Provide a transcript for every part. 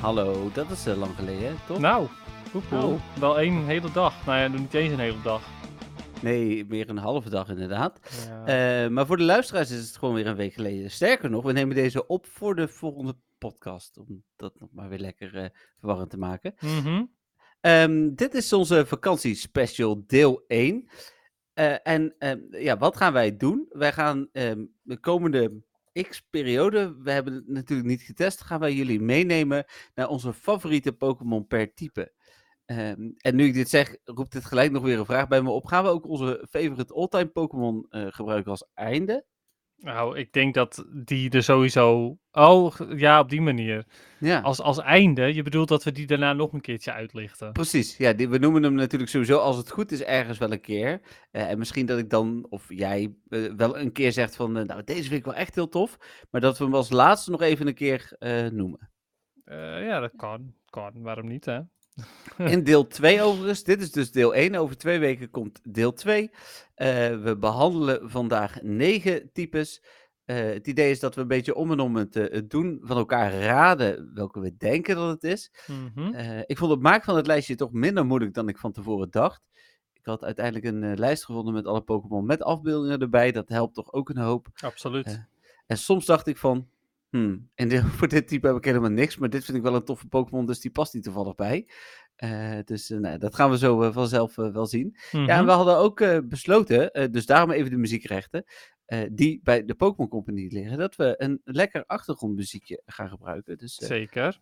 Hallo, dat is eh, lang geleden, hè, toch? Nou, poepoe. Oh. Wel één hele dag. Nou ja, niet eens een hele dag. Nee, meer een halve dag inderdaad. Ja. Eh, maar voor de luisteraars is het gewoon weer een week geleden. Sterker nog, we nemen deze op voor de volgende podcast. Om dat nog maar weer lekker eh, verwarrend te maken. Mhm. Ehm, dit is onze vakantiespecial deel 1. Eh, en ehm, ja, wat gaan wij doen? Wij gaan ehm, de komende x-periode, we hebben het natuurlijk niet getest, gaan wij jullie meenemen naar onze favoriete Pokémon per type. Ehm, en nu ik dit zeg, roept dit gelijk nog weer een vraag bij me op. Gaan we ook onze favorite all-time Pokémon eh, gebruiken als einde? Nou, ik denk dat die er sowieso... Oh, g- ja, op die manier. Ja, Als, als einde, je bedoelt dat we die daarna nog een keertje uitlichten. precies. Ja, die, we noemen hem natuurlijk sowieso als het goed is ergens wel een keer. Eh, en misschien dat ik dan, of jij, eh, wel een keer zegt van, eh, nou, deze vind ik wel echt heel tof. Maar dat we hem als laatste nog even een keer eh, noemen. Eh, ja, dat kan. Kan, waarom niet, hè? In deel 2 overigens, dit is dus deel 1. Over twee weken komt deel 2. we behandelen vandaag negen types. Eh, het idee is dat we een beetje om en om het, eh, het doen van elkaar raden welke we denken dat het is. Mhm. Eh, ik vond het maken van het lijstje toch minder moeilijk dan ik van tevoren dacht. Ik had uiteindelijk een eh, lijst gevonden met alle Pokémon met afbeeldingen erbij. Dat helpt toch ook een hoop. Absoluut. eh, En soms dacht ik van, hmm, en dit- voor dit type heb ik helemaal niks, maar dit vind ik wel een toffe Pokémon, dus die past niet toevallig bij. Eh, dus eh, nou, dat gaan we zo eh, vanzelf eh, wel zien. Ja, en Mhm. we hadden ook eh, besloten, eh, dus daarom even de muziekrechten, eh, die bij de Pokémon Company liggen, dat we een lekker achtergrondmuziekje gaan gebruiken. Dus eh, Zeker.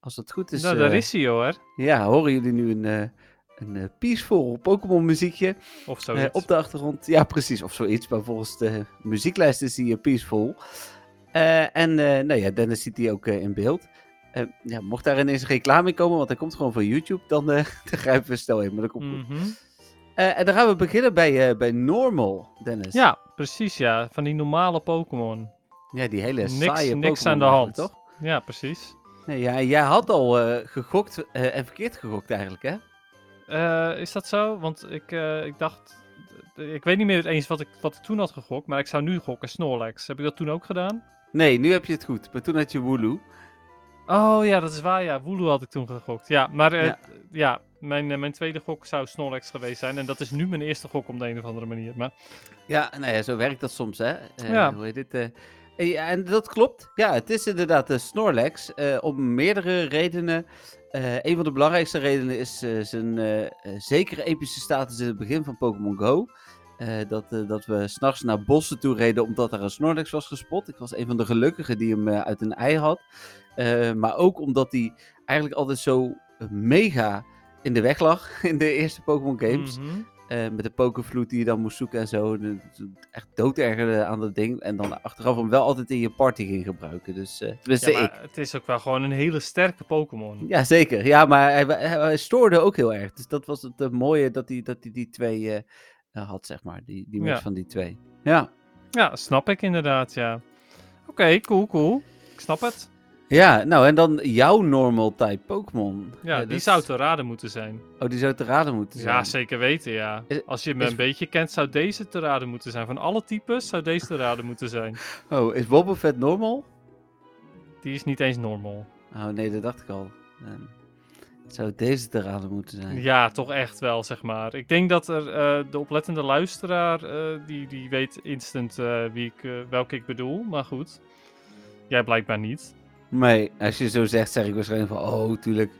als dat goed is, nou, daar eh, is hij hoor. ja, horen jullie nu een, eh, een eh, peaceful Pokémon muziekje? Of Eh, zo. op de achtergrond. Ja, precies. Of zoiets. Maar volgens de muzieklijst is die eh, peaceful. Eh, en eh, nou ja, Dennis ziet die ook eh, in beeld. Eh, ja, mocht daar ineens een reclame in komen, want hij komt gewoon van YouTube, dan, eh dan grijpen we snel in. Maar dat Hmm. komt Mhm. goed. Eh, en dan gaan we beginnen bij, eh, bij Normal, Dennis. Ja, precies ja. Van die normale Pokémon. Ja, die hele Niks- saaie niks Pokémon aan de eigenlijk, hand. Toch? Ja, precies. Nee, ja, jij had al eh, gegokt eh, en verkeerd gegokt eigenlijk, hè? Eh, is dat zo? Want ik, eh, ik dacht. Ik weet niet meer eens wat ik, wat ik toen had gegokt, maar ik zou nu gokken Snorlax. Heb ik dat toen ook gedaan? Nee, nu heb je het goed. Maar toen had je Wooloo. Oh ja, dat is waar. Ja, Wooloo had ik toen gegokt. Ja, maar eh, Ja. ja. mijn, eh, mijn tweede gok zou Snorlax geweest zijn. En dat is nu mijn eerste gok op de een of andere manier. Maar Ja, nou ja, zo werkt dat soms, hè? Eh, Ja. Hoe heet dit? eh, eh, ja, en dat klopt. Ja, het is inderdaad de Snorlax. eh, om meerdere redenen. Eh, een van de belangrijkste redenen is eh, zijn eh, eh, zekere epische status in het begin van Pokémon Go. Eh, dat, eh, dat we s'nachts naar bossen toe reden omdat er een Snorlax was gespot. Ik was een van de gelukkigen die hem eh, uit een ei had. Eh, maar ook omdat hij eigenlijk altijd zo mega in de weg lag in de eerste Pokémon games. Mhm. Eh, met de pokervloed die je dan moest zoeken en zo. De- de- Echt doodergerde aan dat ding. En dan achteraf hem wel altijd in je party ging gebruiken. Dus, eh tenminste Ja, maar ik. het is ook wel gewoon een hele sterke Pokémon. Ja, zeker. Ja, maar hij, hij- hij stoorde ook heel erg. Dus dat was het eh, mooie dat hij, dat hij die twee eh, eh, had, zeg maar. Die, die mix Ja. van die twee. Ja. Ja, snap ik inderdaad, ja. Oké, cool, cool. Ik snap het. ja, nou en dan jouw normal type Pokémon. Ja, Eh, die dat- zou te raden moeten zijn. Oh, die zou te raden moeten zijn. Ja, zeker weten, ja. Is- Als je me is- een beetje kent, zou deze te raden moeten zijn. Van alle types zou deze te raden moeten zijn. Oh, is Wobbuffet normal? Die is niet eens normal. Oh nee, dat dacht ik al. Ehm, zou deze te raden moeten zijn? Ja, toch echt wel, zeg maar. Ik denk dat er eh, de oplettende luisteraar, eh, die, die weet instant eh, wie ik, eh, welke ik bedoel. Maar goed, jij blijkbaar niet. Nee, als je zo zegt, zeg ik waarschijnlijk van, oh, tuurlijk.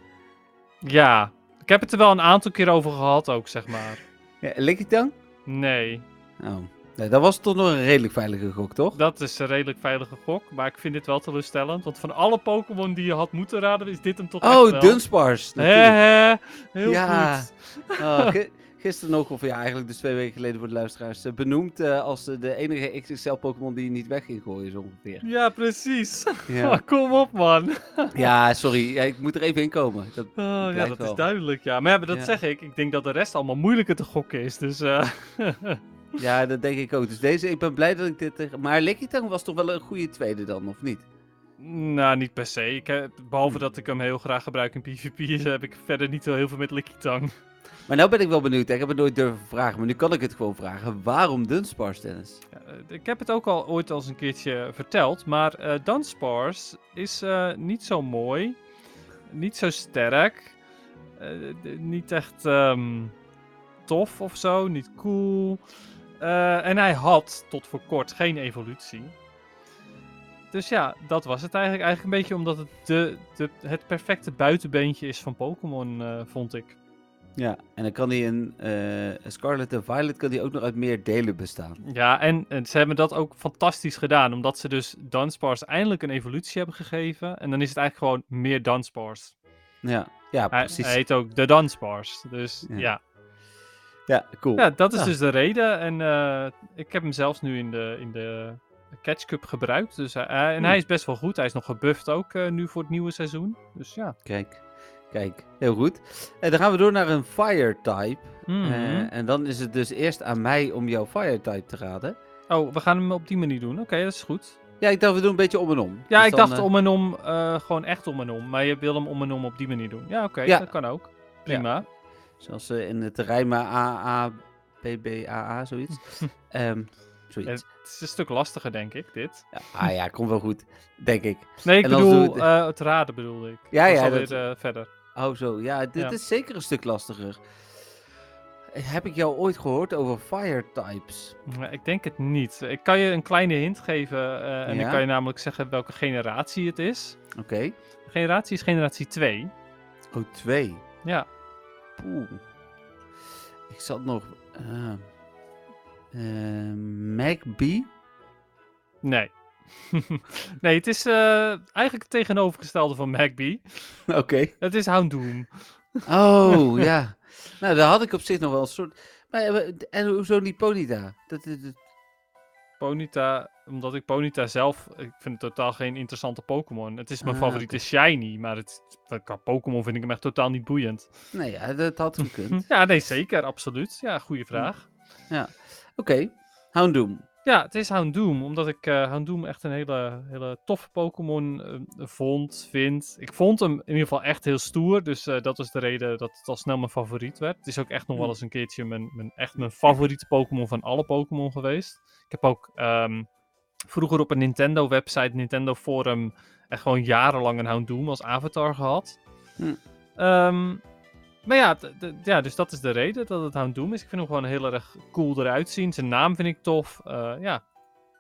Ja, ik heb het er wel een aantal keer over gehad ook, zeg maar. Ja, Lickitung? Nee, Oh. Nee, dat was toch nog een redelijk veilige gok, toch? dat is een redelijk veilige gok. Maar ik vind dit wel teleurstellend. Want van alle Pokémon die je had moeten raden, is dit hem toch echt Oh, wel. Dunspars. Hè, natuurlijk. hè, heel Ja. goed. Oh, ge- gisteren nog, of ja, eigenlijk dus twee weken geleden voor de luisteraars, eh, benoemd eh, als eh, de enige XXL-Pokémon die je niet weg ging gooien, zo ongeveer. Ja, precies. Ah, Ja, Kom op, man. ja sorry, ja, ik moet er even in komen. Dat, Oh, ja, blijkt dat wel. is duidelijk. Ja, maar ja, maar dat Ja. zeg ik. Ik denk dat de rest allemaal moeilijker te gokken is. Dus eh, ja, dat denk ik ook. Dus deze, ik ben blij dat ik dit... tegen- Maar Lickitung was toch wel een goede tweede dan, of niet? nou, niet per se. Ik heb, Hm. behalve dat ik hem heel graag gebruik in PvP, dus heb ik verder niet zo heel veel met Likitang. Maar nou ben ik wel benieuwd. hè. Ik heb het nooit durven vragen, maar nu kan ik het gewoon vragen. Waarom Dunspars, Dennis? Ja, eh, ik heb het ook al ooit al eens een keertje verteld, maar eh Dunsparce is eh, niet zo mooi, niet zo sterk, eh, d- niet echt ehm, tof of zo, niet cool. Eh, en hij had tot voor kort geen evolutie. Dus ja, dat was het eigenlijk. Eigenlijk een beetje omdat het de, de, het perfecte buitenbeentje is van Pokémon, eh, vond ik. Ja, en dan kan hij een eh, Scarlet en Violet kan die ook nog uit meer delen bestaan. Ja, en, en ze hebben dat ook fantastisch gedaan. Omdat ze dus Dunspars eindelijk een evolutie hebben gegeven. En dan is het eigenlijk gewoon meer Dunspars. Ja, ja Hij, precies. hij heet ook de Dunspars. Dus Ja. ja. Ja. Ja, cool. dat is Ja. dus de reden. En eh, ik heb hem zelfs nu in de, in de Catch Cup gebruikt. Dus hij- hij- en Hmm. hij is best wel goed. Hij is nog gebufft ook eh, nu voor het nieuwe seizoen. Dus ja. Kijk, kijk, heel goed. En dan gaan we door naar een fire type. Mhm. Eh, en dan is het dus eerst aan mij om jouw fire type te raden. oh, we gaan hem op die manier doen. Oké, dat is goed. Ja, ik dacht we doen een beetje om en om. Ja, Dus ik dan, dacht eh, om en om. eh, gewoon echt om en om. Maar je wil hem om en om op die manier doen. Ja, oké. Ja. Dat kan ook. Prima. Zoals eh, in het Rijma AA, BBAA, zoiets. Ehm, zoiets. Het is een stuk lastiger, denk ik, dit. Ja, ah ja, komt wel goed, denk ik. Nee, ik En als bedoel, we het- eh, het raden bedoelde ik. Ja, Dat is ja, alweer, dat- eh, verder. Oh zo, ja, dit Ja. is zeker een stuk lastiger. Heb ik jou ooit gehoord over fire types? Maar Ik denk het niet. Ik kan je een kleine hint geven. eh, en Ja? dan kan je namelijk zeggen welke generatie het is. Oké. De generatie is generatie 2. Oh, twee. Ja. Poeh. Ik zat nog. eh eh, Magby? Nee. nee, het is eh, eigenlijk het tegenovergestelde van Magby. Oké. Het is Houndoom. Oh, ja. Nou, daar had ik op zich nog wel een soort. Maar, eh, en hoezo niet Ponita? Dat, is het- Ponyta, omdat ik Ponyta zelf... Ik vind het totaal geen interessante Pokémon. Het is mijn Ah, favoriete Shiny, maar het, qua Pokémon vind ik hem echt totaal niet boeiend. nee, nou ja, dat had gekund. Ja, nee, zeker. Absoluut. Ja, goede vraag. Oké. Houndoom. Ja, het is Houndoom, omdat ik eh Houndoom echt een hele, hele toffe Pokémon eh, vond, vind. Ik vond hem in ieder geval echt heel stoer, dus eh, dat was de reden dat het al snel mijn favoriet werd. Het is ook echt nog wel eens een keertje mijn, mijn, echt mijn favoriete Pokémon van alle Pokémon geweest. Ik heb ook ehm, vroeger op een Nintendo-website, Nintendo Forum, echt gewoon jarenlang een Houndoom als avatar gehad. Hm. Ehm, maar ja, d- d- ja, dus dat is de reden dat het Houndoom is. Ik vind hem gewoon heel erg cool eruit zien. Zijn naam vind ik tof. Eh, ja,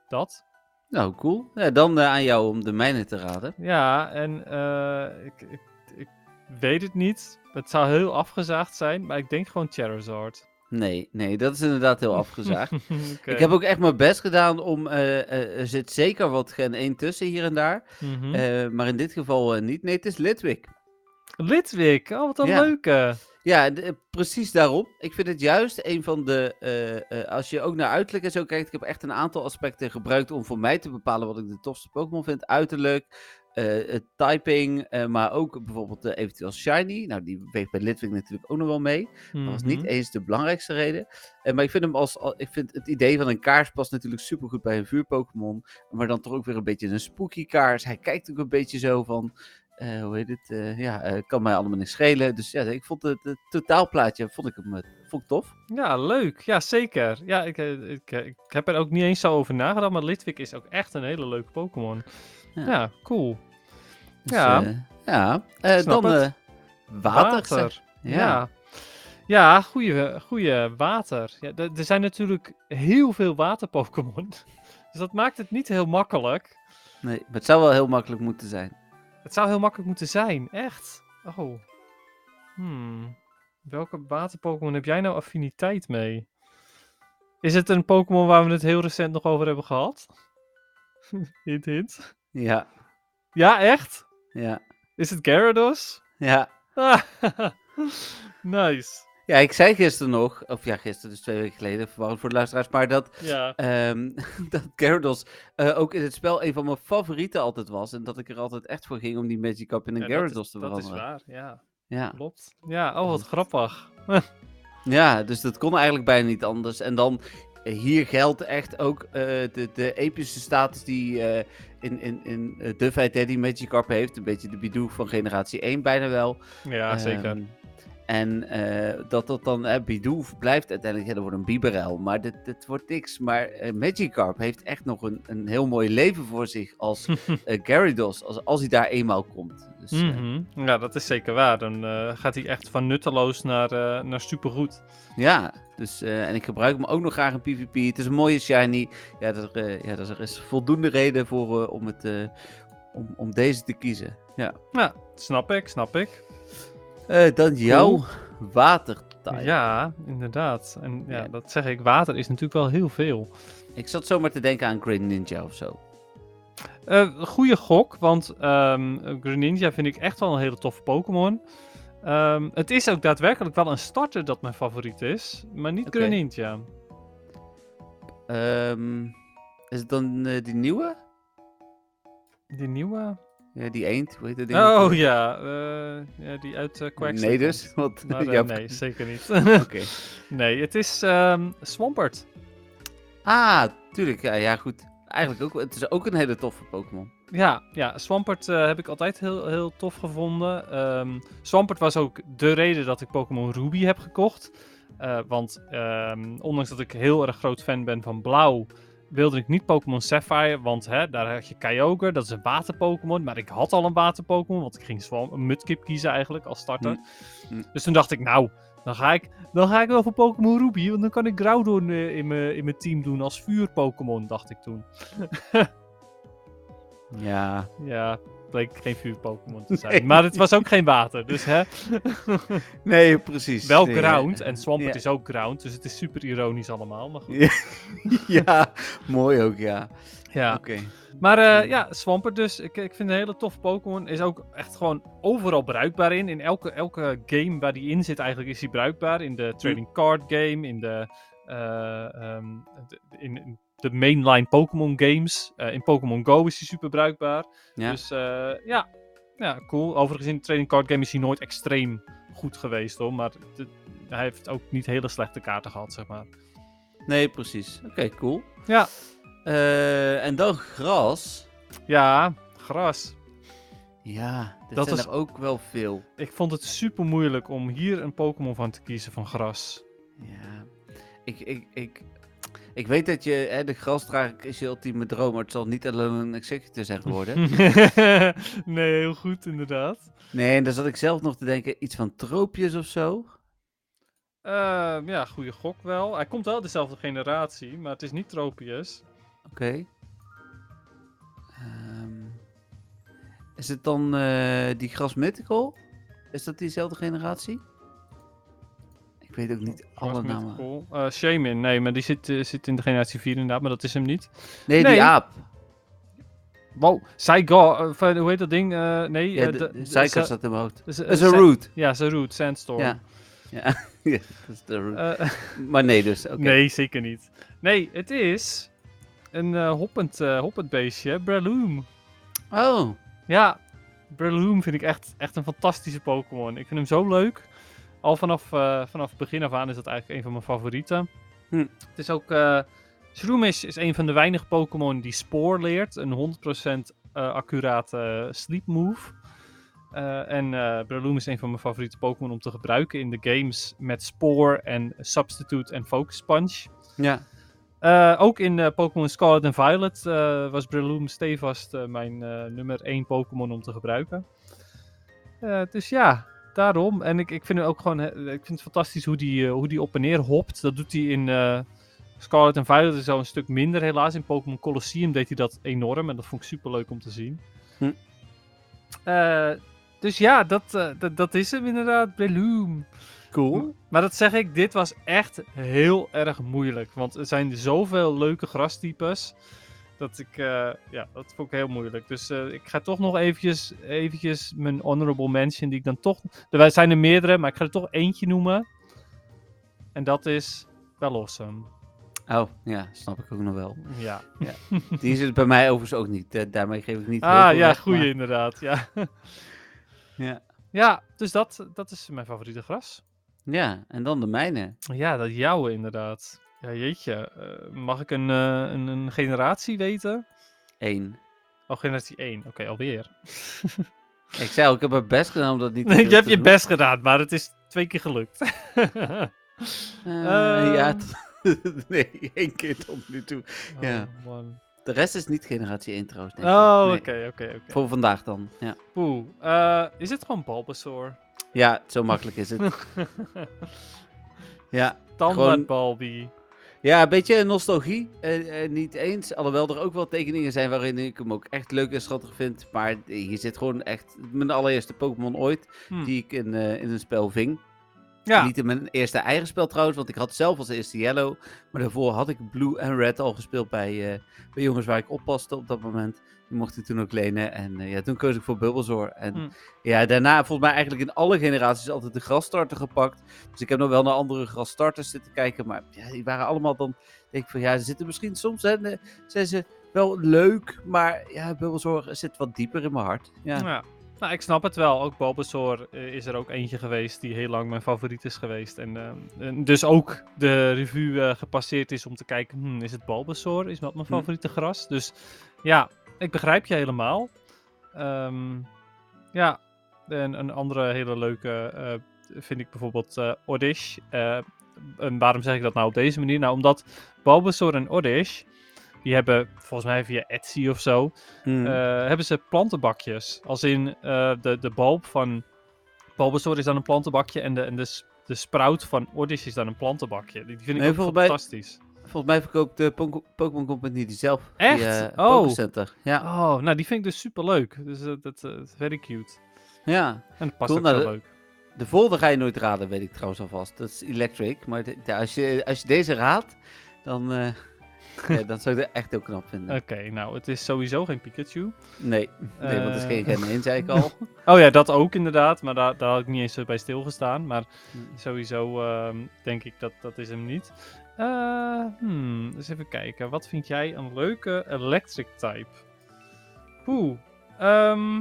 dat. Nou, cool. Ja, dan eh, aan jou om de mijne te raden. Ja, en eh, ik, ik, ik weet het niet. Het zou heel afgezaagd zijn, maar ik denk gewoon Charizard. Nee, nee, dat is inderdaad heel afgezaagd. Oké. Ik heb ook echt mijn best gedaan om. eh, eh, er zit zeker wat gen 1 tussen hier en daar. Mhm. Eh, maar in dit geval eh, niet. Nee, het is Litwick. Litwick, oh wat een ja. leuke. Ja, d- eh, precies daarom. Ik vind het juist een van de. eh, eh, als je ook naar uiterlijk en zo kijkt, ik heb echt een aantal aspecten gebruikt om voor mij te bepalen wat ik de tofste Pokémon vind. Uiterlijk, eh, eh, typing, eh, maar ook bijvoorbeeld eh, eventueel Shiny. Nou, die weegt bij Litwick natuurlijk ook nog wel mee. Dat was niet Mhm. eens de belangrijkste reden. Eh, maar ik vind, hem als, al- ik vind het idee van een kaars past natuurlijk supergoed bij een vuurpokémon. Maar dan toch ook weer een beetje een spooky kaars. Hij kijkt ook een beetje zo van... eh, hoe heet het? eh, ja, eh, kan mij allemaal niks schelen. Dus ja, ik vond het, het totaalplaatje vond ik hem, eh, vond ik tof. Ja, leuk. Ja, zeker. Ja, ik, eh, ik, eh, ik heb er ook niet eens zo over nagedacht, maar Litwick is ook echt een hele leuke Pokémon. Ja. Ja, cool. Dus, Ja. eh, ja. Eh, Snap dan het. eh, water. zeg- Ja. Ja, ja goede, goede water. Ja, d- er zijn natuurlijk heel veel water-Pokémon. Dus dat maakt het niet heel makkelijk. Nee, maar het zou wel heel makkelijk moeten zijn. Het zou heel makkelijk moeten zijn, echt. Oh. Hmm. Welke water-Pokémon heb jij nou affiniteit mee? Is het een Pokémon waar we het heel recent nog over hebben gehad? hint, hint. Ja, Ja, echt? ja, Is het Gyarados? ja. Ah, nice. Ja, ik zei gisteren nog, of ja, gisteren, dus twee weken geleden, verwarrend voor de luisteraars, maar dat, Ja. ehm, dat Gyarados eh, ook in het spel een van mijn favorieten altijd was. En dat ik er altijd echt voor ging om die Magikarp in een Ja, dat, Gyarados is, te dat is veranderen. waar, ja. Ja. Klopt. Ja, oh, wat grappig. ja, dus dat kon eigenlijk bijna niet anders. En dan, eh, hier geldt echt ook eh, de, de epische status die eh, in, in, in eh, de feit Daddy Magikarp heeft. Een beetje de Bidoof van generatie 1 bijna wel. Ja, zeker. Ehm, en eh, dat dat dan, eh, Bidoof blijft uiteindelijk, ja, dat wordt een biberel, maar dit, dit wordt niks. Maar eh, Magikarp heeft echt nog een, een heel mooi leven voor zich als eh, Gyarados, als, als hij daar eenmaal komt. Dus, eh, Mhm. Ja, dat is zeker waar. Dan eh, gaat hij echt van nutteloos naar, eh, naar supergoed. ja, dus, eh, en ik gebruik hem ook nog graag in PvP. Het is een mooie shiny. Ja, dat, er, eh, ja, dat er is voldoende reden voor eh, om, het, eh, om, om deze te kiezen. Ja. Ja, snap ik, snap ik. Eh, dan jouw watertype. Ja, inderdaad. En ja, Ja. dat zeg ik, water is natuurlijk wel heel veel. Ik zat zomaar te denken aan Green Ninja of zo. Eh goeie gok, want ehm Greninja vind ik echt wel een hele toffe Pokémon. Ehm, het is ook daadwerkelijk wel een starter dat mijn favoriet is, maar niet Oké. Greninja. Ehm, is het dan eh, die nieuwe? Die nieuwe? Ja, die eend, hoe heet dat ding? ook Oh weer? ja, eh, ja, die uit eh Quacksalber Nee dus, want... komt. Maar, eh, ja, nee, zeker niet. Oké. nee, het is ehm Swampert. Ah, tuurlijk. Ja, ja, goed. Eigenlijk ook, het is ook een hele toffe Pokémon. Ja, ja Swampert eh, heb ik altijd heel, heel tof gevonden. Ehm Swampert was ook de reden dat ik Pokémon Ruby heb gekocht. Eh, want ehm, ondanks dat ik heel erg groot fan ben van blauw, wilde ik niet Pokémon Sapphire. Want hè, daar had je Kyogre, dat is een water-Pokémon. Maar ik had al een water-Pokémon, want ik ging Swam een Mudkip kiezen eigenlijk als starter. Hm. Hm. Dus toen dacht ik, nou, dan ga ik, dan ga ik wel voor Pokémon Ruby. Want dan kan ik Groudon eh, in mijn in mijn team doen als vuur-Pokémon, dacht ik toen. Ja. Ja, bleek geen vuur-Pokémon te zijn. Nee. Maar het was ook geen water. Dus hè, Nee, precies. wel Nee, ground. En Swampert Ja. is ook ground. Dus het is super ironisch allemaal. Maar goed. Ja, ja, mooi ook, ja. Ja. Oké. Maar eh, ja, Swampert dus. Ik, ik vind een hele toffe Pokémon. Is ook echt gewoon overal bruikbaar in. In elke, elke game waar die in zit eigenlijk is hij bruikbaar. In de trading card game. In de, eh, ehm, de- in, in de mainline Pokémon games. Eh, in Pokémon Go is hij super bruikbaar. Ja. Dus eh, ja. ja, cool. Overigens in de trading card game is hij nooit extreem goed geweest hoor. Maar de- hij heeft ook niet hele slechte kaarten gehad, zeg maar. Nee, precies. Oké, cool. Ja. Eh, en dan gras. Ja, gras. Ja, dit Dat zijn is- er ook wel veel. Ik vond het super moeilijk om hier een Pokémon van te kiezen van gras. Ja, ik, ik, ik, ik weet dat je, hè, de grasdrager is je ultieme droom, maar het zal niet alleen een executor zijn geworden. nee, heel goed inderdaad. nee, en daar zat ik zelf nog te denken, iets van troopjes of zo. Ehm, ja, goede gok wel. Hij komt wel uit dezelfde generatie, maar het is niet Tropius. Oké. Ehm, is het dan eh, die grasmythical? Is dat diezelfde generatie? Ik weet ook niet alle namen. Cool. Eh Shaman, nee, maar die zit, eh, zit in de generatie 4 inderdaad, maar dat is hem niet. Nee, Nee. die aap. Wow, Saigon, eh, van- hoe heet dat ding? Eh, nee, Ja, eh, de, de- de de- Psycho Sa- zat in mijn hoofd. Dus, eh, Dat is een sa- root. Ja, zijn root, Sandstorm. Ja. Ja. ja, dat is de root. Eh, maar nee dus, oké. Nee, zeker niet. Nee, het is een eh, hoppend, eh, hoppend beestje, Breloom. Oh, Ja, Breloom vind ik echt, echt een fantastische Pokémon. Ik vind hem zo leuk. Al vanaf, eh, vanaf het begin af aan is dat eigenlijk een van mijn favorieten. Hm. Het is ook... eh Shroomish is een van de weinige Pokémon die spoor leert. Een 100% eh accurate sleep move. Eh, en eh Breloom is een van mijn favoriete Pokémon om te gebruiken in de games. Met spoor en substitute en focus punch. ja. Eh, ook in eh, Pokémon Scarlet en Violet eh, was Breloom stevast eh, mijn eh, nummer 1 Pokémon om te gebruiken. Eh, dus ja, daarom. En ik, ik vind hem ook gewoon eh, ik vind het fantastisch hoe die, eh, hoe die op en neer hopt. Dat doet hij in eh, Scarlet en Violet is al een stuk minder helaas. In Pokémon Colosseum deed hij dat enorm en dat vond ik super leuk om te zien. Hm. Eh, dus ja, dat, eh, dat, dat is hem inderdaad, Breloom. Cool. Maar dat zeg ik, dit was echt heel erg moeilijk. Want er zijn zoveel leuke grastypes. Dat ik, eh, ja, dat vond ik heel moeilijk. Dus eh, ik ga toch nog eventjes, eventjes mijn honorable mention, die ik dan toch... Er zijn er meerdere, maar ik ga er toch eentje noemen. En dat is wel awesome. Oh, ja, snap ik ook nog wel. Ja. Die is het bij mij overigens ook niet. eh, daarmee geef ik niet heel Ah veel ja, weg, goeie maar- inderdaad. Ja, Ja. ja dus dat, dat is mijn favoriete gras. ja, en dan de mijne. Ja, dat jouwe inderdaad. Ja, jeetje. eh, mag ik een, eh, een, een generatie weten? Eén. Oh, generatie 1. Oké, alweer. Ik zei al, ik heb mijn best gedaan om dat niet te Nee, je veel hebt te je doen. best gedaan, maar het is twee keer gelukt. Eh, ja, Ehm. t- nee, één keer tot nu toe. Ja. Oh, man. De rest is niet generatie 1 trouwens. denk ik. Oh, Nee, oké, oké, oké. Voor vandaag dan, ja. Poeh. eh, is het gewoon Bulbasaur? Ja, zo makkelijk is het. ja. Gewoon- Standaard Balbi. ja, een beetje nostalgie. eh, eh, niet eens. Alhoewel er ook wel tekeningen zijn waarin ik hem ook echt leuk en schattig vind. Maar eh, hier zit gewoon echt mijn allereerste Pokémon ooit. Hm. Die ik in, eh, in een spel ving. Ja, Niet in mijn eerste eigen spel trouwens, want ik had zelf als eerste Yellow. Maar daarvoor had ik Blue en Red al gespeeld bij, eh, bij jongens waar ik oppaste op dat moment. Die mocht ik toen ook lenen. En eh, ja, toen koos ik voor Bulbasaur. En Hm. ja, daarna volgens mij eigenlijk in alle generaties altijd de grasstarter gepakt. Dus ik heb nog wel naar andere grasstarters zitten kijken. Maar ja, die waren allemaal dan, denk ik van ja, ze zitten misschien soms, hè, eh, zijn ze wel leuk. Maar ja, Bulbasaur zit wat dieper in mijn hart. Ja, Ja. Nou, ik snap het wel. Ook Bulbasaur eh, is er ook eentje geweest die heel lang mijn favoriet is geweest. En, eh, en dus ook de revue eh, gepasseerd is om te kijken, hmm, is het Bulbasaur? Is dat mijn Hm. favoriete gras? Dus ja, ik begrijp je helemaal. Ehm, ja, en een andere hele leuke eh, vind ik bijvoorbeeld eh Oddish. Eh, en waarom zeg ik dat nou op deze manier? Nou, omdat Bulbasaur en Oddish, die hebben volgens mij via Etsy of zo, Hmm. eh, hebben ze plantenbakjes. Als in eh, de, de bulb van Bulbasaur is dan een plantenbakje en de, en de, s- de sprout van Oddish is dan een plantenbakje. Die die vind ik Nee, ook volgens mij- fantastisch. volgens mij verkoopt de Pon- Pokémon Company die zelf. Echt? Die, eh, Oh. Pokécenter. Ja. Oh, nou die vind ik dus super leuk. Dus eh, dat eh, is very cute. Ja, En dat past Cool, ook nou, zo dat- leuk. de volgende ga je nooit raden, weet ik trouwens alvast. Dat is Electric. Maar de- de- als, je, als je deze raadt, dan, eh, ja, dan zou ik dat echt heel knap vinden. Oké, nou het is sowieso geen Pikachu. Nee, nee, want het is Eh. geen Gen 1, zei ik al. Oh ja, dat ook inderdaad, maar daar, daar had ik niet eens bij stilgestaan. Maar Hmm. sowieso ehm, denk ik dat dat is hem niet. Eh hmm, eens even kijken. Wat vind jij een leuke electric type? Poeh. ehm,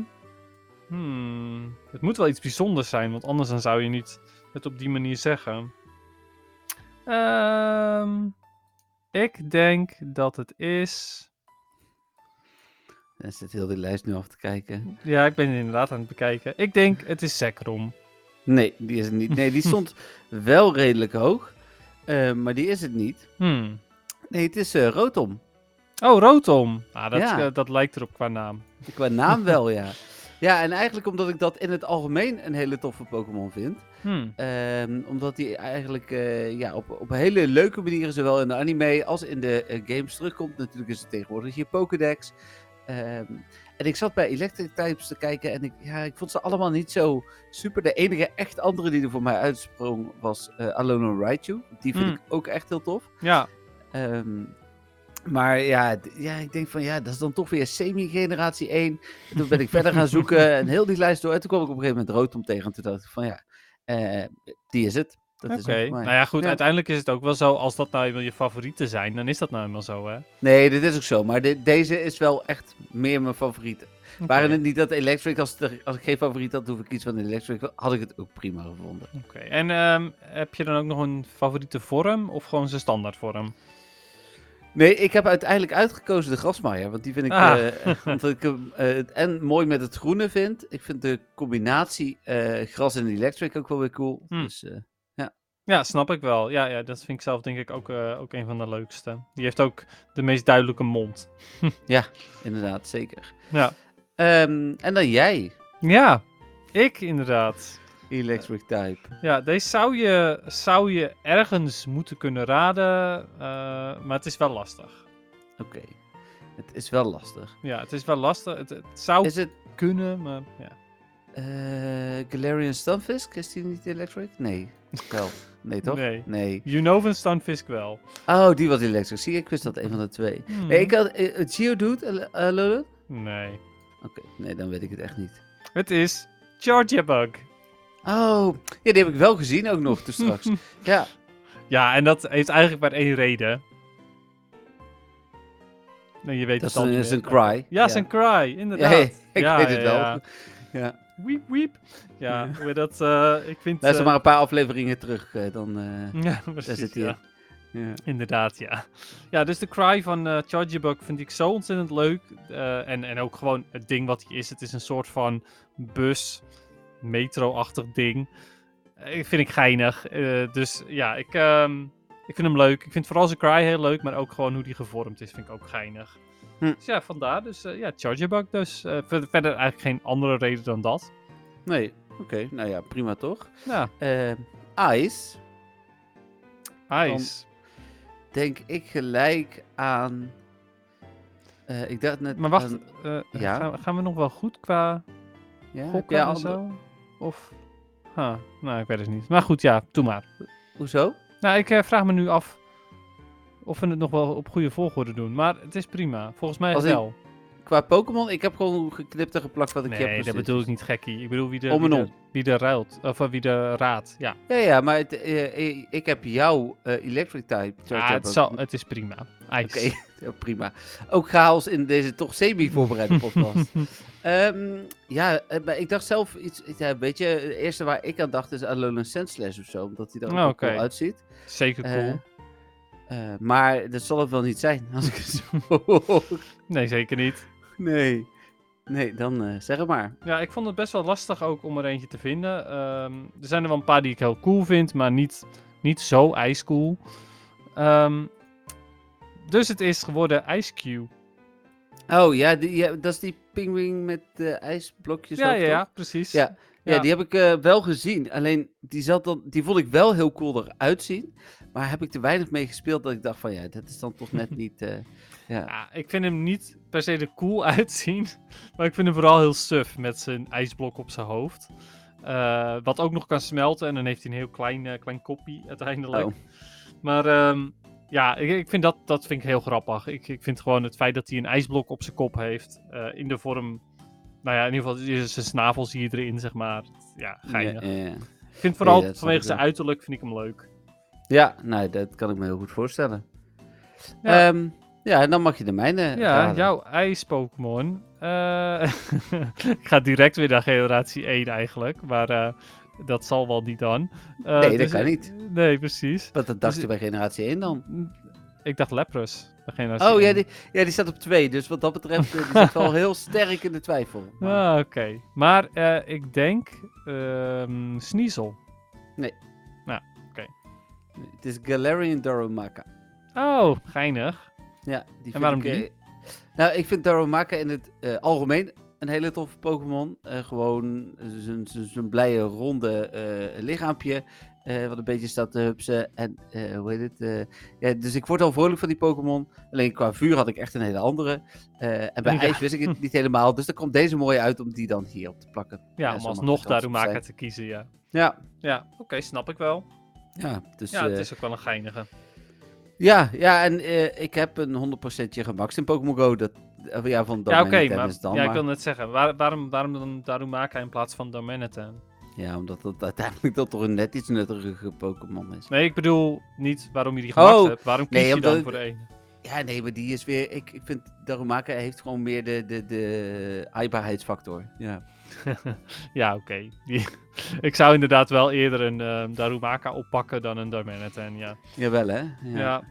hmm, het moet wel iets bijzonders zijn, want anders dan zou je niet het op die manier zeggen. Ehm, ik denk dat het is. Dan zit heel die lijst nu af te kijken. Ja, ik ben het inderdaad aan het bekijken. Ik denk het is Zekrom. Nee, die is het niet. Nee, die stond wel redelijk hoog, eh, maar die is het niet. Hmm. Nee, het is eh, Rotom. Oh, Rotom. Ah, dat, Ja. eh, dat lijkt erop qua naam. Qua naam wel, ja. Ja, en eigenlijk omdat ik dat in het algemeen een hele toffe Pokémon vind. Hmm. Ehm, omdat die eigenlijk eh, ja, op, op hele leuke manieren, zowel in de anime als in de eh, games terugkomt. Natuurlijk is het tegenwoordig je Pokédex. Ehm, en ik zat bij Electric Types te kijken en ik, ja, ik vond ze allemaal niet zo super. De enige echt andere die er voor mij uitsprong was eh Alono Raichu. Die vind Mm. ik ook echt heel tof. Ja, Ehm, maar ja, d- ja, ik denk van ja, dat is dan toch weer semi-generatie 1. En toen ben ik verder gaan zoeken en heel die lijst door. En toen kwam ik op een gegeven moment Rotom tegen. En toen dacht ik van ja, eh, die is het. Dat oké. is hem voor mij. Nou ja, goed. Ja. Uiteindelijk is het ook wel zo. Als dat nou eenmaal je favorieten zijn, dan is dat nou eenmaal zo, hè? Nee, dit is ook zo. Maar de- deze is wel echt meer mijn favoriet. Oké, Waren het niet dat Electric, als, het er- als ik geen favoriet had, hoef ik iets van Electric, had ik het ook prima gevonden. oké. En ehm, heb je dan ook nog een favoriete vorm of gewoon zijn standaard vorm? Nee, ik heb uiteindelijk uitgekozen de grasmaaier. Want die vind ik. Ah. eh, omdat ik hem eh, en mooi met het groene vind. Ik vind de combinatie eh, gras en electric ook wel weer cool. Hmm. Dus, eh, Ja, snap ik wel. Ja, ja dat vind ik zelf denk ik ook, eh, ook een van de leukste. Die heeft ook de meest duidelijke mond. inderdaad, zeker. Ja, Ehm, en dan jij, ja ik inderdaad. electric type. Ja, deze zou je, zou je ergens moeten kunnen raden, eh, maar het is wel lastig. Oké. Het is wel lastig. Ja, het is wel lastig. Het, het zou Is het kunnen, maar ja. eh Galarian Stunfisk? Is die niet electric? Nee. Wel. Nee, toch? Nee. nee. Junovan Stunfisk wel. Oh, die was electric. Zie je, ik wist dat een van de twee. Hmm. Nee, ik had eh, eh, Geodude, eh, eh, Lola? Oké, Nee. nee, dan weet ik het echt niet. Het is Georgia Bug. Oh, ja, die heb ik wel gezien ook nog, dus straks. ja, Ja, en dat heeft eigenlijk maar één reden. Nee, je weet Dat is het al een, niet is een meer. cry. Ja, zijn cry, Ja, inderdaad. ja, ik Ja, weet het ja, wel. ja. Ja. Wiep, wiep. Ja, Ja. hoe dat... eh, ik vind... Luister eh, maar een paar afleveringen terug, eh, dan eh Ja, daar precies, zit hij ja. in. Ja. Inderdaad, ja. Ja, dus de cry van eh Chargebug vind ik zo ontzettend leuk. eh, en, en ook gewoon het ding wat hij is. Het is een soort van bus, metro-achtig ding. Eh, vind ik geinig. Eh, dus ja, ik, ehm, ik vind hem leuk. Ik vind vooral zijn cry heel leuk, maar ook gewoon hoe die gevormd is, vind ik ook geinig. Hm. Dus ja, vandaar. Dus eh, ja, Chargebug dus. Eh, verder, verder eigenlijk geen andere reden dan dat. Nee, oké. Nou ja, prima toch? Ja, Eh Ice, ijs. denk ik gelijk aan... eh, ik dacht net Maar wacht, aan- eh, ja. gaan, gaan we nog wel goed qua... ja, heb gokken jij en andere- zo? Of... Huh, nou, ik weet het niet. Maar goed, ja, doe maar. Hoezo? Nou, ik eh, vraag me nu af of we het nog wel op goede volgorde doen. Maar het is prima. Volgens mij Als in- wel. Qua Pokémon, ik heb gewoon geknipt en geplakt wat ik heb. Nee, dat precies. bedoel ik niet gekkie. Ik bedoel wie de, Om en wie de- om. wie de ruilt. Of eh, wie de raadt. Ja, Ja, ja, maar het, eh, eh, ik heb jouw eh, Electric type. Ah, het, zal, het is prima. IJs. Oké, ja, prima. Ook chaos in deze toch semi-voorbereide podcast. Ehm, ja, eh, maar ik dacht zelf iets. Ja, weet je, het eerste waar ik aan dacht is aan Lolan Sandslash of zo, omdat hij er ook Oh, wel oké. cool uitziet. Zeker cool. Eh, eh, maar dat zal het wel niet zijn, als ik het zo hoor. Nee, zeker niet. Nee. Nee, dan eh, zeg het maar. Ja, ik vond het best wel lastig ook om er eentje te vinden. Ehm, er zijn er wel een paar die ik heel cool vind, maar niet, niet zo ijscool. Ehm, dus het is geworden Ice Cube. Oh ja, die, ja, dat is die pinguïn met de ijsblokjes. Ja, ook, ja, toch? ja, precies. Ja. Ja, Ja. die heb ik eh, wel gezien. Alleen die, zat dan, die vond ik wel heel cool eruit zien. Maar heb ik te weinig mee gespeeld dat ik dacht van ja, dat is dan toch net niet. eh, Ja, ik vind hem niet per se er cool uitzien, maar ik vind hem vooral heel suf met zijn ijsblok op zijn hoofd. Eh, wat ook nog kan smelten en dan heeft hij een heel klein, eh, klein kopje uiteindelijk. Oh. Maar ehm, ja, ik, ik vind dat, dat vind ik heel grappig. Ik, ik vind gewoon het feit dat hij een ijsblok op zijn kop heeft eh, in de vorm... Nou ja, in ieder geval is zijn snavel zie je erin, zeg maar. Ja, geinig. ja, ja. Ik vind vooral dat snap vanwege ik zijn wel. uiterlijk vind ik hem leuk. Ja, nou, dat kan ik me heel goed voorstellen. Ja. Ja, ja en dan mag je de mijne. Ja, Eh, raden. jouw ijs-Pokémon. Eh, ik ga direct weer naar generatie 1 eigenlijk, maar eh, dat zal wel niet dan. Eh, Nee, dat kan niet. Nee, precies. Want dat dacht je bij generatie 1 dan. Ik dacht Lepros. bij generatie Oh ja 1. die, ja, die staat op 2. Dus wat dat betreft, eh, die zit wel heel sterk in de twijfel. Maar- Ah, oké. Maar eh, ik denk ehm Sneasel. Het is Galarian Darumaka. Oh, geinig. Ja, die vind waarom ik, eh, die? nou, ik vind Darumaka in het eh, algemeen een hele toffe Pokémon. Eh, gewoon zijn- zijn zijn blije, ronde eh, lichaampje. eh, wat een beetje staat te hupsen. En eh, hoe heet het? eh, ja, dus ik word al vrolijk van die Pokémon. Alleen qua vuur had ik echt een hele andere. Eh, en bij Ja. ijs wist ik het niet helemaal. Dus dan komt deze mooi uit om die dan hier op te plakken. Ja, zo om mag alsnog het dan soms Darumaka zijn. te kiezen, ja. Ja, Ja, oké, snap ik wel. ja, dus, ja, eh, het is ook wel een geinige. ja, ja, en eh, ik heb een 100% gemaxt in Pokémon Go. Dat, eh, ja, van Ja, oké, Dominican maar, is het dus dan, ja, ik maar- wil net zeggen, waar- waarom, waarom dan Darumaka in plaats van Darmanitan? Ja, omdat dat uiteindelijk dat toch een net iets nuttigere Pokémon is. Nee, ik bedoel niet waarom je die gemaakt Oh, hebt. Waarom kies nee, je omdat dan het- voor de ene? Ja, nee, maar die is weer... Ik, ik vind, Darumaka heeft gewoon meer de, de, de aaibaarheidsfactor. Ja. Ja, oké. Die- ik zou inderdaad wel eerder een ehm, Darumaka oppakken dan een Darmanitan, ja. Jawel, hè? Ja. Ja,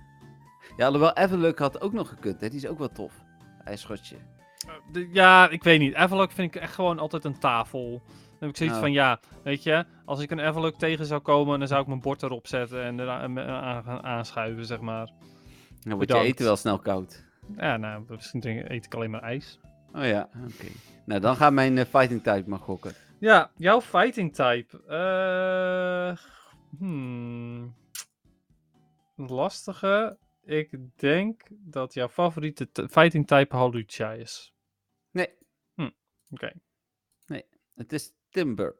ja alhoewel Eveluk had ook nog gekund, hè? Die is ook wel tof. IJsschotje. Eh, de- ja, ik weet niet. Avalok vind ik echt gewoon altijd een tafel. Dan heb ik zoiets Oh. van, ja, weet je, als ik een Avalok tegen zou komen, dan zou ik mijn bord erop zetten en er aan, aan- gaan aanschuiven, zeg maar. Dan wordt je Bedankt. eten wel snel koud. Ja, nou, misschien drink- eet ik alleen maar ijs. Oh ja, oké. Nou, dan gaat mijn eh, fighting type maar gokken. Ja, jouw fighting type. Eh, hmm. Lastige. Ik denk dat jouw favoriete t- fighting type Halucha is. Nee. Hm, Oké. Het is Timber.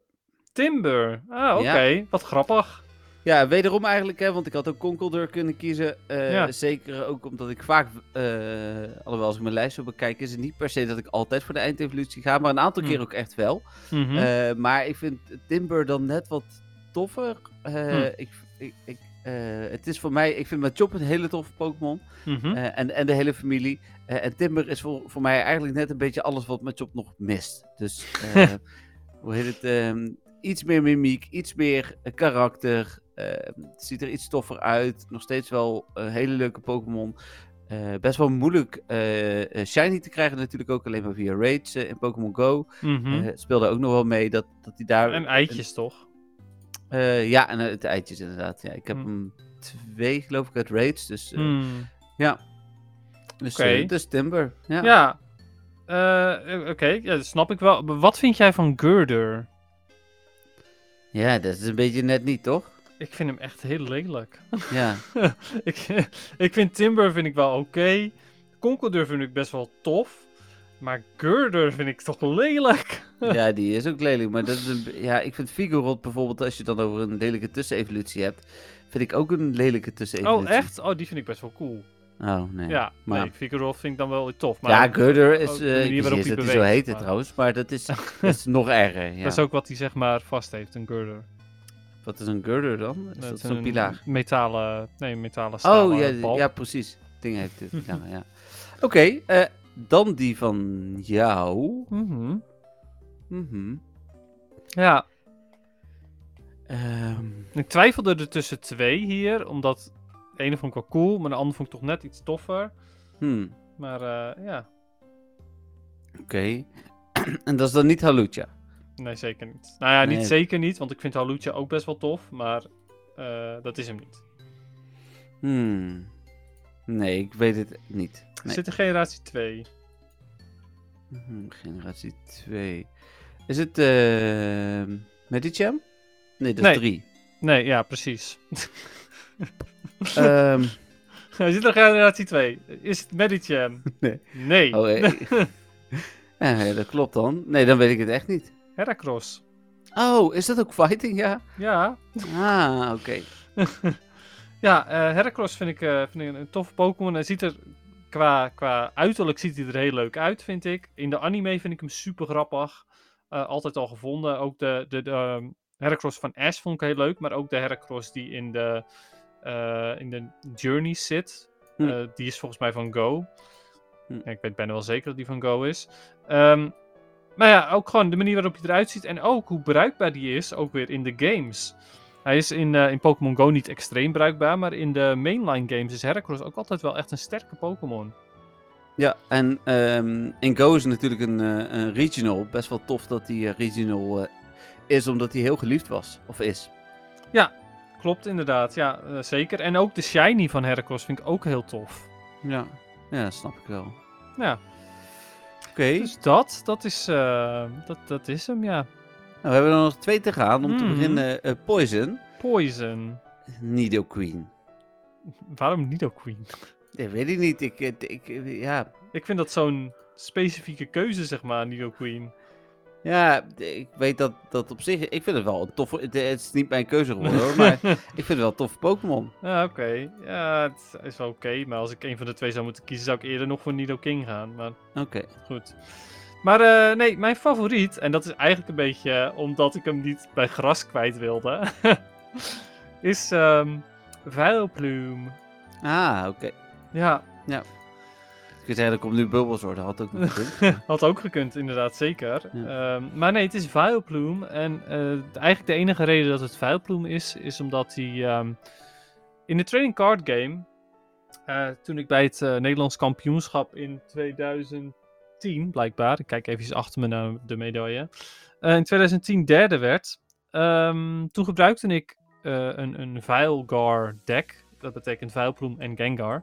Timber. Ah, oké. Wat grappig. Ja, wederom eigenlijk, hè, want ik had ook Conkeldurr kunnen kiezen. Eh, Ja. Zeker ook omdat ik vaak, eh, alhoewel als ik mijn lijst zo bekijk, is het niet per se dat ik altijd voor de eindevolutie ga, maar een aantal Hm. keer ook echt wel. Mhm. Eh, maar ik vind Timber dan net wat toffer. Eh, Hm. ik, ik, ik Eh, het is voor mij, ik vind mijn Chopper een hele toffe Pokémon. Mhm. Eh, en, en de hele familie. Eh, en Timber is voor, voor mij eigenlijk net een beetje alles wat Machop nog mist. Dus eh, hoe heet het? ehm, iets meer mimiek, iets meer eh, karakter. eh, het ziet er iets toffer uit. Nog steeds wel een hele leuke Pokémon. Eh, best wel moeilijk eh, eh, shiny te krijgen natuurlijk ook. Alleen maar via raids eh, in Pokémon Go. mhm. Eh, speelde ook nog wel mee dat, dat hij daar... en eitjes toch? eh, ja, en eh, het eitjes inderdaad. Ja, ik heb Hm. hem twee geloof ik uit raids. Dus eh, Hmm. ja. Dus, eh, Oké. dus Timber. Ja. Ja. Eh, Oké, ja, dat snap ik wel. Maar Wat vind jij van Girder? Ja, dat is een beetje net niet, toch? Ik vind hem echt heel lelijk. Ja. ik, ik vind Timber vind ik wel oké. Conkeldurr vind ik best wel tof. Maar Girder vind ik toch lelijk. ja, die is ook lelijk. Maar dat is een, be- ja, ik vind Vigorot bijvoorbeeld, als je het dan over een lelijke tussenevolutie hebt, vind ik ook een lelijke tussenevolutie. Oh, echt? Oh, die vind ik best wel cool. Oh, nee. Ja, ja, maar- nee, Vigoroth vind ik dan wel weer tof. Maar ja Gurder ook is, de eh, manier ik wist waarop niet eens hij dat hij zo beweegt, heette maar- trouwens, maar dat is, dat is nog erger. Ja. dat is ook wat hij zeg maar vast heeft, een Girder. Wat is een Gurder dan? Is dat Met zo'n een pilaar? Metalen, nee, een metalen eh, stalen Oh, ja, balk. ja, precies. Ding heeft het. pilaar, ja. Oké, eh, dan die van jou. Mhm. Mhm. ja. Ehm, Ik twijfelde er tussen twee hier, omdat de ene vond ik wel cool, maar de andere vond ik toch net iets toffer. hmm, Maar eh, ja, Oké. en dat is dan niet Halucha? nee, zeker niet. Nou ja, niet Nee. zeker niet, want ik vind Halucha ook best wel tof, maar eh, dat is hem niet. Hmm. Nee, ik weet het niet. Er Nee. zit in generatie 2. Mhm, Generatie 2. Is het ehm Medicham? Nee, dat Nee. is 3. Nee, ja, precies. Ehm Hij zit in generatie 2. Is het Medicham? Nee. Nee, oh, eh, ja, dat klopt dan. Nee, dan weet ik het echt niet. Heracross. Oh, is dat ook fighting? Ja. Ja, Ah, oké. ja eh, Heracross vind ik, eh, vind ik een toffe Pokémon. Hij ziet er qua, qua uiterlijk ziet hij er heel leuk uit, vind ik. In de anime vind ik hem super grappig. Eh, altijd al gevonden. Ook de, de, de ehm, Heracross van Ash vond ik heel leuk. Maar ook de Heracross die in de, eh, in de Journey zit. Hm. Eh, die is volgens mij van Go. Hm. Ja, Ik weet bijna wel zeker dat die van Go is. Ehm, maar ja, ook gewoon de manier waarop hij eruit ziet. En ook hoe bruikbaar die is, ook weer in de games. Hij is in, eh, in Pokémon Go niet extreem bruikbaar. Maar in de mainline games is Heracross ook altijd wel echt een sterke Pokémon. Ja, en ehm in Go is natuurlijk een, eh, een regional. Best wel tof dat die eh, regional eh, is, omdat hij heel geliefd was. Of is. Klopt inderdaad, ja, eh, zeker. En ook de shiny van Heracross vind ik ook heel tof. Ja. Ja, snap ik wel. Ja, Oké. dus dat, dat is, eh, dat, dat is hem, ja. Nou, we hebben er nog twee te gaan. Om te Mhm. beginnen eh, Poison. Poison. Nido Queen. Waarom Nido Queen? Dat weet ik niet. Ik, eh, ik, eh, ja. Ik vind dat zo'n specifieke keuze, zeg maar, Nido Queen. ja, d- ik weet dat, dat op zich... Ik vind het wel een toffe... Het, het is niet mijn keuze geworden, hoor, maar ik vind het wel een toffe Pokémon. Ja, oké. Ja, het is wel oké. maar als ik een van de twee zou moeten kiezen, zou ik eerder nog voor Nido King gaan. Maar Oké. goed. Maar eh, nee, mijn favoriet, en dat is eigenlijk een beetje eh, omdat ik hem niet bij gras kwijt wilde, is ehm Vileplume. Ah, oké. Ja, Ik wil zeggen, er komt nu Bulbasaur. Dat had ook nog gekund. had ook gekund, inderdaad, zeker. Ehm, maar nee, het is Vileplume. En eh, de- eigenlijk de enige reden dat het Vileplume is, is omdat hij ehm, in de trading card game, eh, toen ik bij het eh, Nederlands kampioenschap in 2010, blijkbaar, ik kijk even achter me naar de medaille, eh, in 2010 derde werd, ehm, toen gebruikte ik eh, een, een Vilegar deck. Dat betekent Vileplume en Gengar.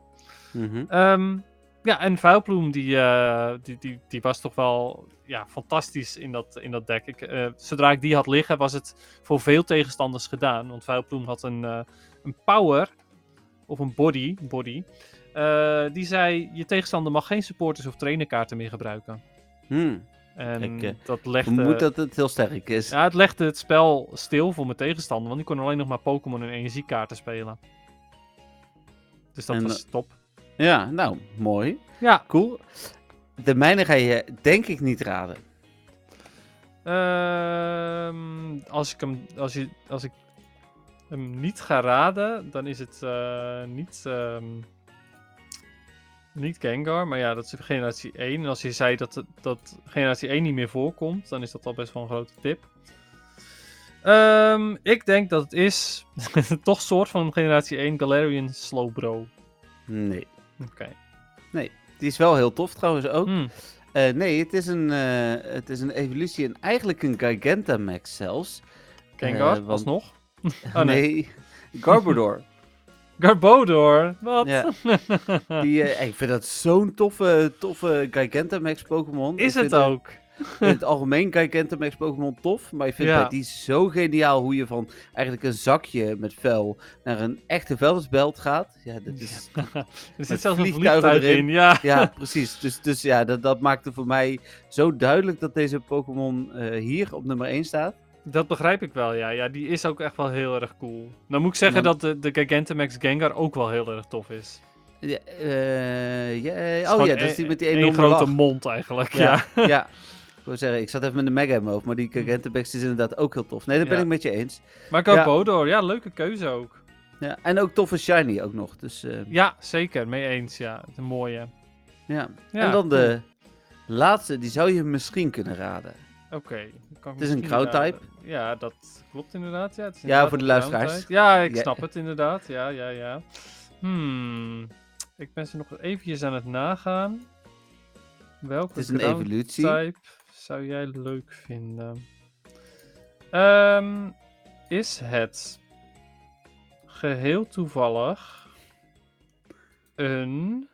Mhm. Ehm, ja, en Vuilploem die, eh, die, die, die was toch wel ja, fantastisch in dat, in dat deck. Ik, eh, zodra ik die had liggen, was het voor veel tegenstanders gedaan. Want Vuilploem had een, eh, een power, of een body, body eh, die zei, je tegenstander mag geen supporters of trainerkaarten meer gebruiken. Hmm. En Kijk, dat Ik legde... vermoed dat het heel sterk is. eh, Ja, het legde het spel stil voor mijn tegenstander, want ik kon alleen nog maar Pokémon en energiekaarten spelen. Dus dat En, eh, was top. Ja, nou, mooi. Ja, Cool. De mijne ga je denk ik niet raden. Ehm, als ik hem, als, je, als ik hem niet ga raden, dan is het eh, niet, ehm, niet Gengar. Maar ja, dat is generatie 1. En als je zei dat, het- dat generatie 1 niet meer voorkomt, dan is dat al best wel een grote tip. Ehm, ik denk dat het is toch soort van generatie 1 Galarian Slowbro. Oké. Nee. Die is wel heel tof trouwens ook. Hmm. Eh, nee, het is, een, eh, het is een evolutie en eigenlijk een Gigantamax zelfs. Gengar, Eh, want- alsnog. Oh, nee. Garbodor. Garbodor, wat? Ja. Die, eh, ik vind dat zo'n toffe, toffe Gigantamax Pokémon. Is Ik het vind, eh, ook? in het algemeen Gigantamax Pokémon tof, maar ik vind Ja. bij die zo geniaal hoe je van eigenlijk een zakje met vuil naar een echte vuilnisbelt gaat. Ja, dat is, Er Met zit zelfs een vliegtuigen vliegtuig erin. in, ja. ja precies. Dus, dus ja, dat, dat maakte voor mij zo duidelijk dat deze Pokémon eh, hier op nummer 1 staat. Dat begrijp ik wel, ja. Ja, die is ook echt wel heel erg cool. Nou moet ik zeggen Ja. dat de, de Gigantamax Gengar ook wel heel erg tof is. Ja, eh, ja, eh, Het is oh gewoon ja, dat is die één- met die e- één enorme grote lach. mond eigenlijk, ja. Ja, ja. Ik wil zeggen, ik zat even met de mega in mijn hoofd, maar die Gigantamax is inderdaad ook heel tof. Nee, dat ben Hmm. Ja. ik met je eens. Maar Garbodor, ja. leuke keuze ook. Ja, en ook toffe shiny ook nog, dus eh, Ja, zeker. Mee eens, ja. Een mooie. ja. Ja, En dan de laatste, die zou je misschien kunnen raden. Oké. dat kan ik Het is een misschien raden. Ground-type. Ja, dat klopt inderdaad, ja. Het is Ja, inderdaad voor de een luisteraars. Ground-type. Ja, ik Ja. snap het inderdaad. Ja, ja, ja. Hmm. Ik ben ze nog eventjes aan het nagaan. Welke Het is een Ground evolutie. type zou jij leuk vinden? Ehm, is het geheel toevallig een.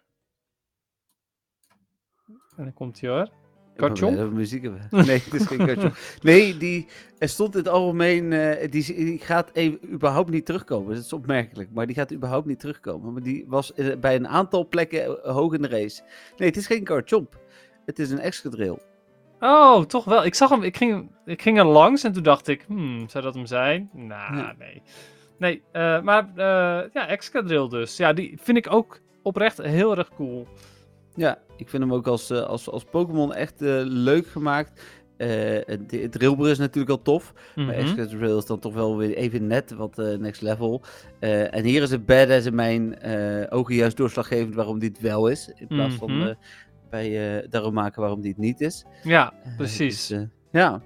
En dan komt hij hoor. Kartjong? Oh, nee, dat we muziek hebben. Nee, het is geen kartjong. Nee, die er stond in het algemeen. eh, die, is- die gaat even, überhaupt niet terugkomen. Dat is opmerkelijk. Maar die gaat überhaupt niet terugkomen. Maar die was eh, bij een aantal plekken eh, hoog in de race. Nee, het is geen kartjomp. Het is een excadrill. Oh, toch wel. Ik zag hem. Ik ging, ik ging er langs en toen dacht ik, hmm, zou dat hem zijn? Nou, Nee. nee. Nee, eh, maar eh ja, Excadrill dus. Ja, die vind ik ook oprecht heel erg cool. Ja, ik vind hem ook als, eh, als, als Pokémon echt eh, leuk gemaakt. Eh, het het Drillbur is natuurlijk al tof. Maar Mhm. Excadrill is dan toch wel weer even net wat eh, next level. Eh, en hier is het badass in mijn eh, ogen juist doorslaggevend waarom dit wel is. In plaats van Mhm. eh, bij eh daarom maken waarom dit niet is. Ja, Eh, precies. dus, eh, ja,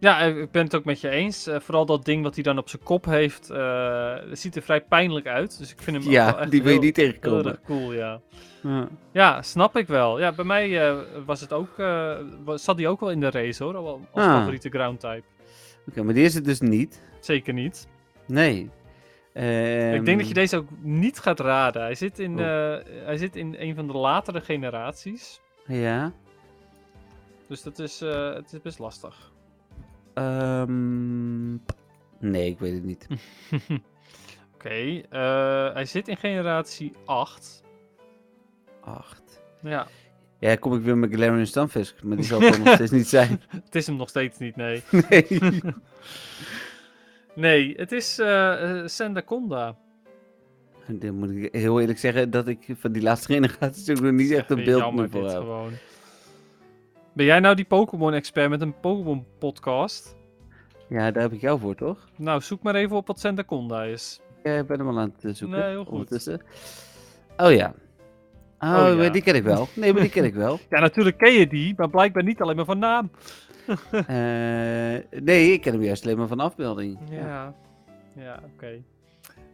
Ja, eh, ik ben het ook met je eens. Eh, vooral dat ding wat hij dan op zijn kop heeft, eh, dat ziet er vrij pijnlijk uit. Dus ik vind hem ook wel ja echt die wil je heel- niet heel tegenkomen. erg cool, ja. Ja. Ja, snap ik wel. Ja, bij mij eh, was het ook, eh, wa- zat hij ook wel in de race hoor, al- Ah. als favoriete ground type. Oké, maar die is het dus niet. Zeker niet. Nee. ik denk dat je deze ook niet gaat raden. Hij zit in, Ehm, Oh. eh, hij zit in een van de latere generaties. Ehm, Ja. Dus dat is, eh, het is best lastig. ehm, nee, ik weet het niet. Hm. Oké, eh, hij zit in generatie 8. Acht. Ja, Ja, dan kom ik weer met Galarian Stunfisk, maar die zal het dan nog steeds niet zijn. het is hem nog steeds niet, nee. Nee. Nee, het is eh eh, Sendaconda. En Dan moet ik heel eerlijk zeggen dat ik van die laatste generaties ook nog niet echt een Weer beeld jammer meer voor dit heb. gewoon. Ben jij nou die Pokémon-expert met een Pokémon-podcast? Ja, daar heb ik jou voor, toch? Nou, zoek maar even op wat Sendaconda is. Ik eh, ben hem al aan het zoeken. Nee, heel goed. Ondertussen. Oh ja. Oh, Oh ja. maar die ken ik wel. Nee, maar die ken ik wel. Ja, natuurlijk ken je die, maar blijkbaar niet alleen maar van naam. Eh, nee, ik ken hem juist alleen maar van afbeelding. Ja. Ja, ja oké.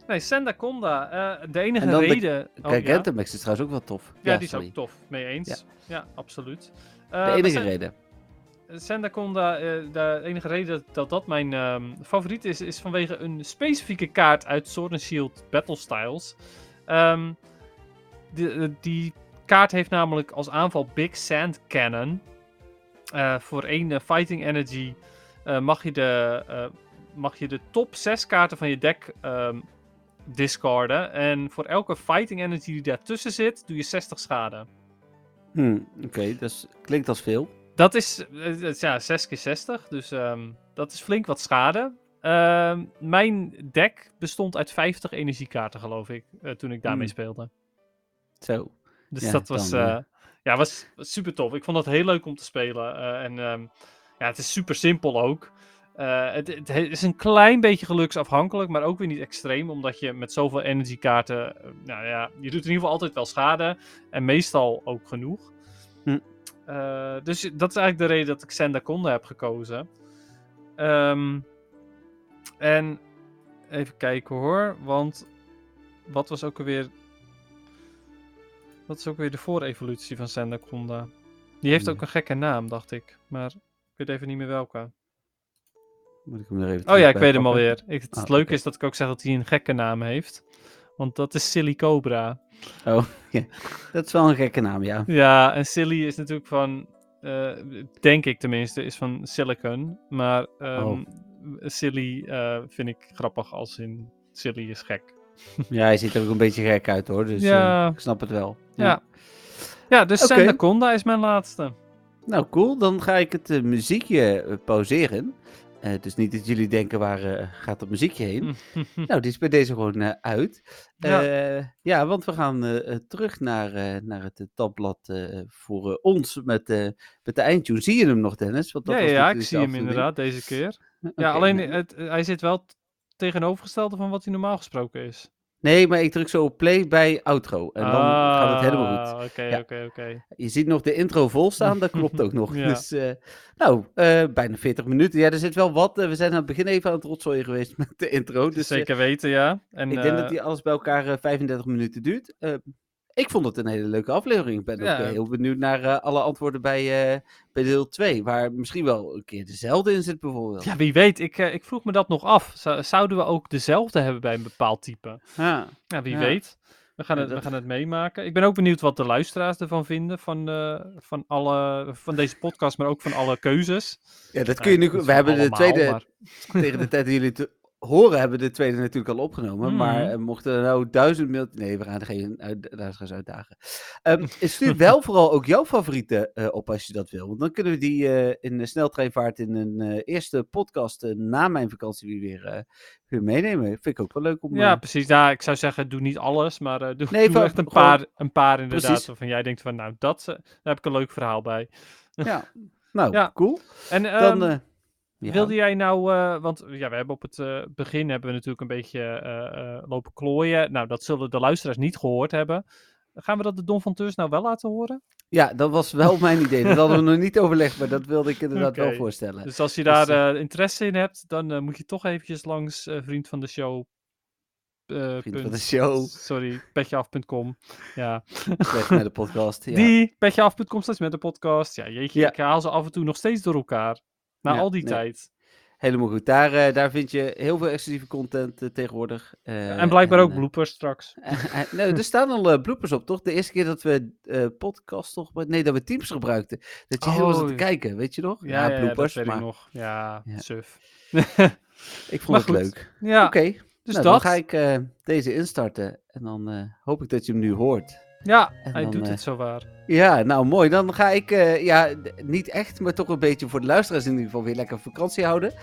Nee, Sendaconda, eh, de enige En dan de reden... Oh, Kijk, ja? Gentamax is trouwens ook wel tof. Ja, die is sorry. ook tof, mee eens. Ja, absoluut. Eh, De enige reden. Sendaconda, eh, de enige reden dat dat mijn ehm, favoriet is, is vanwege een specifieke kaart uit Sword and Shield Battle Styles. Ehm, die, eh, die kaart heeft namelijk als aanval Big Sand Cannon. Eh, voor één eh, Fighting Energy eh, mag, je de, eh, mag je de top 6 kaarten van je deck ehm, discarden. En voor elke Fighting Energy die daartussen zit, doe je 60 schade. Hm, Oké, dat is- klinkt als veel. Dat is, eh, dat is, ja, 6 keer 60, dus ehm, dat is flink wat schade. Ehm, mijn deck bestond uit 50 energiekaarten, geloof ik, eh, toen ik daarmee Hmm. speelde. Zo. Dus Ja, dat was, dan, eh. eh, ja, was, was super tof. Ik vond dat heel leuk om te spelen. eh, en ehm, ja, het is super simpel ook. Eh, Eh, het, het he- is een klein beetje geluksafhankelijk, maar ook weer niet extreem, omdat je met zoveel energiekaarten, eh, nou ja, je doet in ieder geval altijd wel schade en meestal ook genoeg. Hm. Eh, dus dat is eigenlijk de reden dat ik Sendaconda heb gekozen. Ehm, en even kijken hoor, want wat was ook alweer, wat is ook weer de voorevolutie van Sendaconda? Die heeft Hmm. ook een gekke naam, dacht ik, maar ik weet even niet meer welke. Moet ik hem er even Oh terug ja, ik bij weet hem pakken? alweer. Ik, het Ah, leuke oké. is dat ik ook zeg dat hij een gekke naam heeft. Want dat is Silly Cobra. Dat is wel een gekke naam, ja. Ja, en Silly is natuurlijk van, eh, denk ik tenminste, is van Silicon. Maar ehm, Oh. Silly eh, vind ik grappig als in Silly is gek. Ja, hij ziet er ook een beetje gek uit hoor, dus eh, Ja. ik snap het wel. Ja, ja dus Oké. Sandaconda is mijn laatste. Nou, cool. Dan ga ik het eh, muziekje eh, pauzeren. Eh, dus niet dat jullie denken, waar eh, gaat dat muziekje heen? Nou, die is bij deze gewoon eh, uit. Ja. Eh, ja, want we gaan eh, eh, terug naar, eh, naar het eh, tabblad eh, voor eh, ons met, eh, met de eindtune. Zie je hem nog, Dennis? Want dat ja, ja, was ja, ik natuurlijk de zie hem afbeelding. inderdaad deze keer. Oké, ja, alleen nee. het, hij zit wel t- tegenovergestelde van wat hij normaal gesproken is. Nee, maar ik druk zo op play bij outro. En dan gaat het helemaal goed. Ah, Oké, Ja. Dus, oké, oké. Je ziet nog de intro vol staan, dat klopt ook nog. Ja. Dus, eh, nou, eh, bijna 40 minuten. Ja, er zit wel wat. Eh, we zijn aan het begin even aan het rotzooien geweest met de intro. Dus eh, Zeker weten, ja. En, ik denk eh, dat die alles bij elkaar eh, 35 minuten duurt. Eh, ik vond het een hele leuke aflevering. Ik ben ook Ja. eh, heel benieuwd naar eh, alle antwoorden bij, eh, bij deel 2. Waar misschien wel een keer dezelfde in zit bijvoorbeeld. Ja, wie weet. Ik, eh, ik vroeg me dat nog af. Zou- zouden we ook dezelfde hebben bij een bepaald type? Ah, Ja, wie Ja. weet. We gaan, Ja, het, we dat- gaan het meemaken. Ik ben ook benieuwd wat de luisteraars ervan vinden. Van, eh, van, alle, van deze podcast, maar ook van alle keuzes. Ja, dat Nou, kun je nu... niet We van hebben de allemaal, tweede... maar- Tegen de tijd dat jullie het horen, hebben we de tweede natuurlijk al opgenomen. Maar Mhm. eh, mochten er nou duizend mail... Nee, we gaan er geen uit- luisteraars uitdagen. Ehm stuur wel vooral ook jouw favoriete eh, op als je dat wil. Want dan kunnen we die eh, in de sneltreinvaart in een eh, eerste podcast eh, na mijn vakantie weer, weer, eh, weer meenemen. Vind ik ook wel leuk om... Ja, eh, precies. Ja, ik zou zeggen, doe niet alles, maar eh, doe, Nee, doe van- echt een gewoon- paar, een paar inderdaad. Precies. Waarvan jij denkt van, nou, dat, eh, daar heb ik een leuk verhaal bij. ja. Nou, Ja. cool. En Dan... ehm, eh, ja. Wilde jij nou, eh, want ja, we hebben op het eh, begin hebben we natuurlijk een beetje eh, eh, lopen klooien. Nou, dat zullen de luisteraars niet gehoord hebben. Gaan we dat de Don van Teurs nou wel laten horen? ja, dat was wel mijn idee. Dat hadden we nog niet overlegd, maar dat wilde ik inderdaad wel Oké. voorstellen. Dus als je Dus, daar eh, interesse in hebt, dan eh, moet je toch eventjes langs eh, vriend van de show. eh, Vriend van punt- de show, Sorry, petjeaf.com. Ja. weg met de podcast. Ja. Die, petjeaf.com staat met de podcast. Ja, jeetje, Ja. ik haal ze af en toe nog steeds door elkaar. Na Ja, al die nee. tijd. Helemaal goed. Daar, eh, daar vind je heel veel exclusieve content eh, tegenwoordig. eh, en blijkbaar ook eh, bloopers straks. eh, eh, nee, er staan al eh, bloopers op, toch? De eerste keer dat we eh podcast toch... Nee, dat we teams gebruikten. Dat je heel zat te Oh. kijken, weet je nog? Ja, ja, ja, bloopers, dat weet maar ik nog. Ja, Ja. suf. ik vond Maar het goed, leuk. Ja, Oké, dus nou, dat. dan ga ik eh, deze instarten. En dan eh, hoop ik dat je hem nu hoort. Ja, En hij dan, doet eh, het zowaar. Ja, nou mooi. Dan ga ik, eh, ja, d- niet echt, maar toch een beetje voor de luisteraars in ieder geval weer lekker vakantie houden.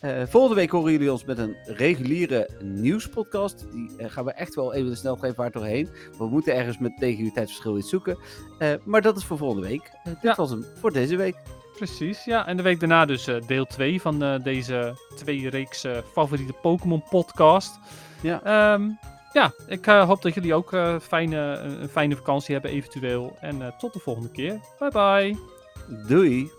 Eh, volgende week horen jullie ons met een reguliere nieuwspodcast. Die eh, gaan we echt wel even de sneltreinvaart doorheen. We moeten ergens met tegen jullie tijdverschil iets zoeken. Eh, maar dat is voor volgende week. Eh, dit Ja. was hem voor deze week. Precies, ja. En de week daarna dus eh, deel 2 van eh, deze twee reeks eh, favoriete Pokémon podcast. Ja. Ehm, ja, ik eh, hoop dat jullie ook eh, fijne, een, een fijne vakantie hebben eventueel. En eh, tot de volgende keer. Bye bye. Doei!